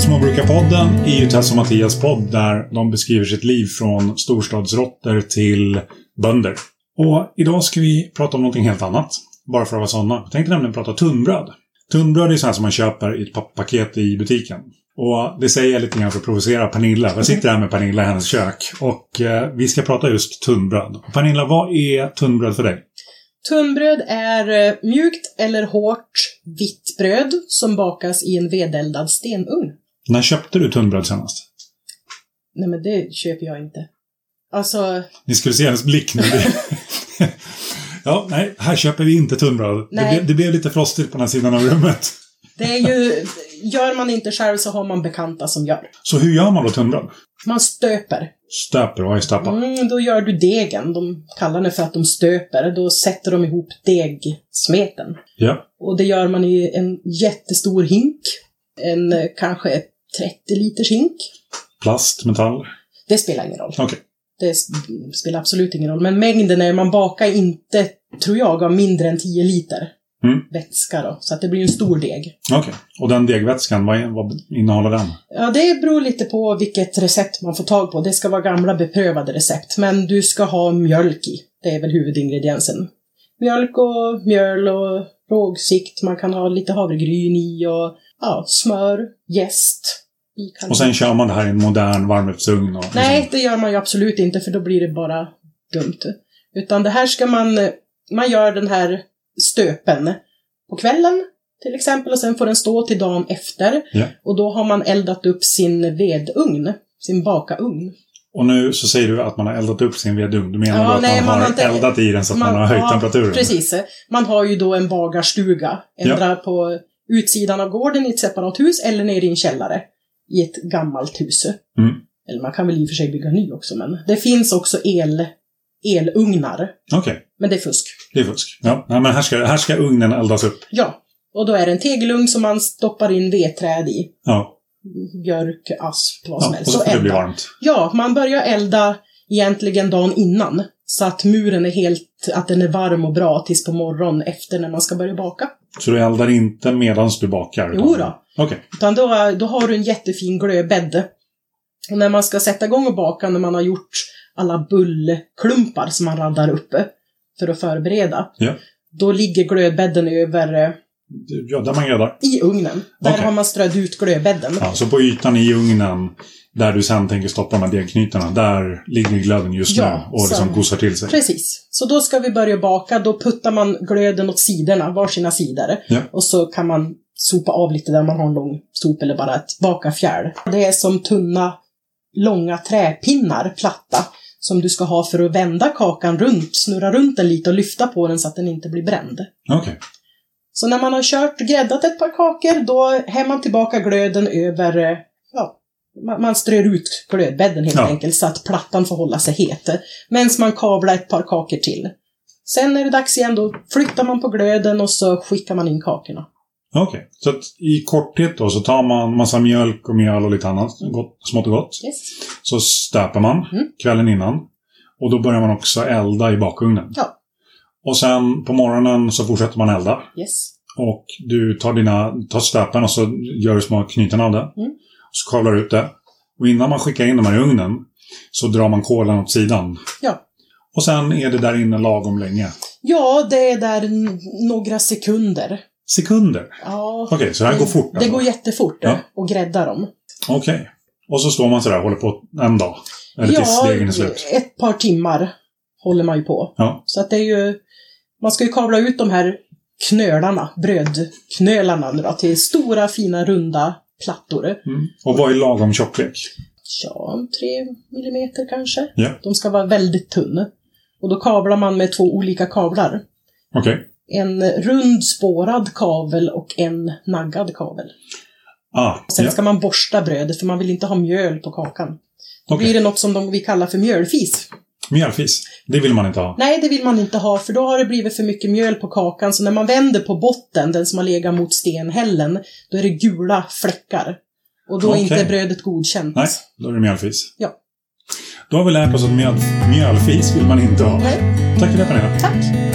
Småbrukarpodden är ju Tess och Mattias podd där de beskriver sitt liv från storstadsrotter till bönder. Och idag ska vi prata om någonting helt annat. Bara för att vara sådana. Jag tänkte nämligen prata tunnbröd. Tunnbröd är sånt som man köper i ett pa- paket i butiken. Och det säger jag lite grann för att provocera Pernilla. Jag sitter här med Pernilla i hennes kök. Och eh, vi ska prata just tunnbröd. Och Pernilla, vad är tunnbröd för dig? Tunnbröd är eh, mjukt eller hårt vitt bröd som bakas i en vedeldad stenugn. När köpte du tunnbröd senast? Nej men det köper jag inte. Alltså, Ni skulle se hennes blick nu. Det- ja, nej, här köper vi inte tunnbröd. Det, Nej. blev- det blev lite frostigt på den här sidan av rummet. det är ju... Gör man inte själv så har man bekanta som gör. Så hur gör man då tunnbröd? Man stöper. Stöper, vad är stöpa? Mm, då gör du degen. De kallar det för att de stöper. Då sätter de ihop degsmeten. Ja. Och det gör man i en jättestor hink. En eh, kanske 30 liters hink. Plast, metall. Det spelar ingen roll. Okej. Det sp- spelar absolut ingen roll. Men mängden är, man bakar inte, tror jag, av mindre än 10 liter Mm. vätska då. Så att det blir en stor deg. Okej. Och den degvätskan, vad, är- vad innehåller den? Ja, det beror lite på vilket recept man får tag på. Det ska vara gamla beprövade recept. Men du ska ha mjölk i. Det är väl huvudingrediensen. Mjölk och mjöl och rågsikt. Man kan ha lite havregryn i och ja, smör, jäst. i kanske. Och sen kör man det här i en modern varmrättsugn. och- Nej, det gör man ju absolut inte för då blir det bara dumt. Utan det här ska man, man gör den här stöpen på kvällen till exempel och sen får den stå till dagen efter. Ja. Och då har man eldat upp sin vedugn, sin bakaugn. Och nu så säger du att man har eldat upp sin vedugn. Du menar Ja, då att nej, man, man har har inte- eldat i den så att man, har höjt ja, temperaturen? Precis. Man har ju då en bagarstuga, ändra på utsidan av gården i ett separat hus eller nere i en källare i ett gammalt hus. Mm. Eller man kan väl i och för sig bygga ny också, men det finns också el, elugnar. Okej, Men det är fusk. det är fusk. Ja, nej, men här ska, här ska ugnen eldas upp. Ja, och då är det en tegelugn som man stoppar in vedträd i. Ja, Björk, asp, vad som ja och helst. så Så får det bli elda. varmt. Ja, man börjar elda egentligen dagen innan. Så att muren är helt, att den är varm och bra tills på morgonen efter när man ska börja baka. Så du eldar inte medan du bakar? Jo då. Okej. Utan då, är- då har du en jättefin glödbädd. Och när man ska sätta igång och baka, när man har gjort alla bullklumpar som man raddar upp för att förbereda. Ja. Då ligger glödbädden över, eh, Ja, där man gräddar. i ugnen. Där Okej. har man strödd ut glödbädden. Ja, så på ytan i ugnen, där du sen tänker stoppa de här degknytarna, där ligger glöden just Ja, nu och liksom så- gosar till sig. Precis. Så då ska vi börja baka. Då puttar man glöden åt sidorna, varsina sidor. Ja. Och så kan man sopa av lite där man har en lång sop eller bara ett bakarfjärl. Det är som tunna, långa träpinnar, platta, som du ska ha för att vända kakan runt, snurra runt den lite och lyfta på den så att den inte blir bränd. Okej. Så när man har kört och gräddat ett par kakor, då häller man tillbaka glöden över, eh, ja, man, man strör ut glödbädden helt Ja. enkelt så att plattan får hålla sig het. Medan man kavlar ett par kakor till. Sen är det dags igen, då flyttar man på glöden och så skickar man in kakorna. Okej. Så att i korthet då så tar man massa mjölk och mjöl och lite annat, gott, smått och gott. Yes. Så stöper man Mm. kvällen innan. Och då börjar man också elda i bakugnen. Ja. Och sen på morgonen så fortsätter man elda. Yes. Och du tar, dina, tar stöpen och så gör du små knyten av det. Mm. Så kavlar du ut det. Och innan man skickar in de här i ugnen så drar man kolen åt sidan. Ja. Och sen är det där inne lagom länge. Ja, det är där n- några sekunder. Sekunder. Ja. Okej, så det här går fort. alltså. Det går jättefort Ja. och grädda dem. Okej. Och så står man sådär och håller på en dag. Eller tills degen är slut. ett par timmar håller man ju på. Ja. Så att det är ju, man ska ju kavla ut de här knölarna, brödknölarna nu då, till stora fina runda plattor. Mm. Och vad är lagom tjocklek? Ja, tre millimeter kanske. Ja. De ska vara väldigt tunna. Och då kavlar man med två olika kavlar. Okej. En rund spårad kavel och en naggad kavel. Ah, Sen ja. ska man borsta brödet för man vill inte ha mjöl på kakan. Då Okej. blir det något som de, vi kallar för mjölfis. Mjölfis. Det vill man inte ha. Nej, det vill man inte ha för då har det blivit för mycket mjöl på kakan så när man vänder på botten, den som har legat mot stenhällen, då är det gula fläckar. Och då är Okej. inte brödet godkänt. Nej, då är det mjölfis. Ja. Då har vi lärt oss att mjöl, mjölfis vill man inte ha. Nej. Tack för det Pernilla. Tack!